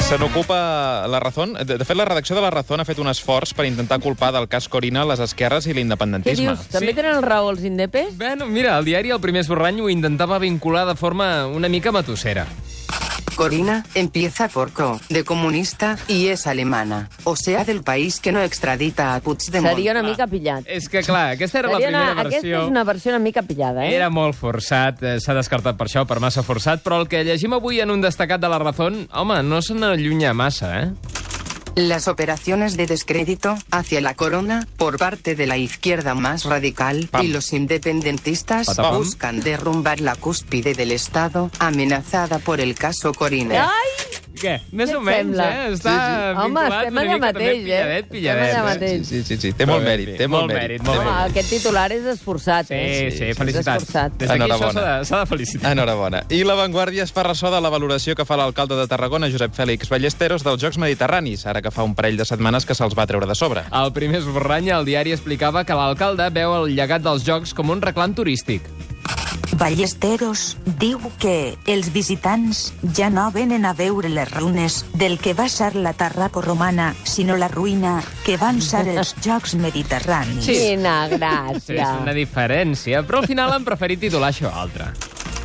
Se n'ocupa la Razón. De, de fet, la redacció de la Razón ha fet un esforç per intentar culpar del cas Corina les esquerres i Què l'independentisme. dius? També tenen raó els indepes? Bueno, mira, el diari El Primer Esborrany ho intentava vincular de forma una mica matussera. Corina empieza por co, de comunista, y es alemana. O sea, del país que no extradita a Puigdemont. Seria una mica pillat. És que, clar, aquesta era la Seria primera una, aquesta versió. és una versió una mica pillada, eh? Era molt forçat, eh, s'ha descartat per això, per massa forçat, però el que llegim avui en un destacat de la Razón, home, no se n'allunya massa, eh? Las operaciones de descrédito hacia la corona por parte de la izquierda más radical Pam. y los independentistas Patapam. buscan derrumbar la cúspide del Estado amenazada por el caso Corina. Ai! Què? Més Què o et menys, sembla? eh? Està sí. Home, vinculat estem una allà mica mateix, també eh? pilladet, Estem pilladet. allà eh? mateix. Sí, sí, sí, sí. Té molt Molt bé, mèrit, sí. té molt, Molt mèrit, mèrit. molt té Home, mèrit. aquest titular és esforçat, Sí, eh? sí, sí, felicitats. esforçat. Des d'aquí això Enhorabona. s'ha de, s'ha de felicitar. Enhorabona. I La Vanguardia es fa ressò de la valoració que fa l'alcalde de Tarragona, Josep Fèlix Ballesteros, dels Jocs Mediterranis, ara que fa un parell de setmanes que se'ls va treure de sobre. Al primer esborrany, el diari explicava que l'alcalde veu el llegat dels Jocs com un reclam turístic. Ballesteros diu que els visitants ja no venen a veure les runes del que va ser la Tarraco romana, sinó la ruïna que van ser els Jocs Mediterranis. Sí. Quina Sí, és una gràcia. diferència, però al final han preferit titular això altre.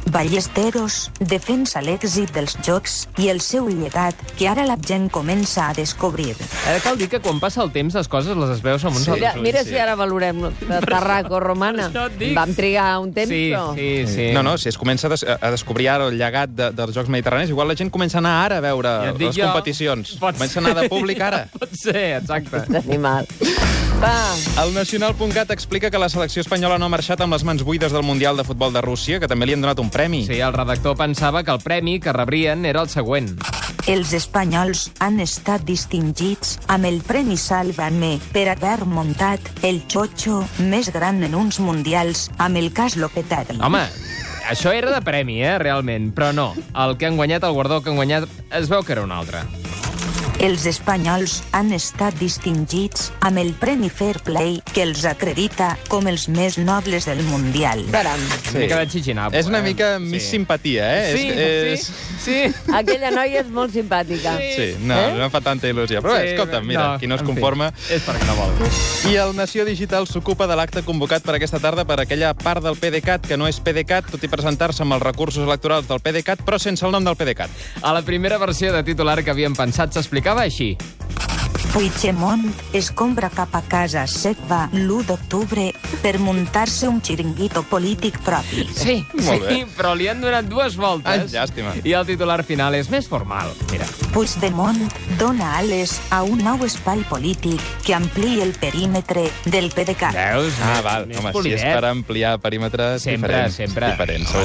Ballesteros defensa l'èxit dels Jocs i el seu llegat que ara la gent comença a descobrir. Ara Eh, cal dir que quan passa el temps les coses les es veus amb uns Mira, altres ulls. mira si ara valorem la Tarraco romana. Per això et dic. Vam trigar un temps, Sí, però... sí, sí. No, no, si es comença a, des a descobrir ara el llegat de, dels Jocs Mediterranis, igual la gent comença a anar ara a veure Ja et dic les jo, competicions. pot Comença a anar de públic ara. Pot ser, exacte. Animal. Va, El Nacional.cat explica que la selecció espanyola no ha marxat amb les mans buides del Mundial de Futbol de Rússia, que també li han donat un premi. Sí, el redactor pensava que el premi que rebrien era el següent. Els espanyols han estat distingits amb el Premi Sálvame per haver muntat el xotxo més gran en uns mundials amb el cas Lopetari. Home, això era de premi, eh, realment. Però no, el que han guanyat, el guardó que han guanyat, es veu que era un altre. Els espanyols han estat distingits amb el Premi Fair Play que els acredita com els més nobles del Mundial. caram. Sí. Una mica de xixinapo. És una eh? mica sí. més simpatia, eh? Sí, és, sí, és... sí. Aquella noia és molt simpàtica. Sí, no, eh? no em fa tanta il·lusió. Però bé, Sí, escolta, mira, qui no es en fi, conforma... És perquè no vol. I el Nació Digital s'ocupa de l'acte convocat per aquesta tarda per aquella part del PDeCAT que no és PDeCAT, tot i presentar-se amb els recursos electorals del PDeCAT, però sense el nom del PDeCAT. A la primera versió de titular que havíem pensat s'explicava així. Puigdemont es compra cap a casa seva l'1 d'octubre per muntar-se un xiringuito polític propi. Sí, Molt sí, bé. però li han donat dues Ai, voltes. llàstima. I el titular final és més formal. Mira. Puigdemont dona ales a un nou espai polític que ampliï el perímetre del PDeCAT. Veus? Ah, Més- val. més Home, si polidet. és per ampliar perímetres Sempre, diferents. sempre. Diferents,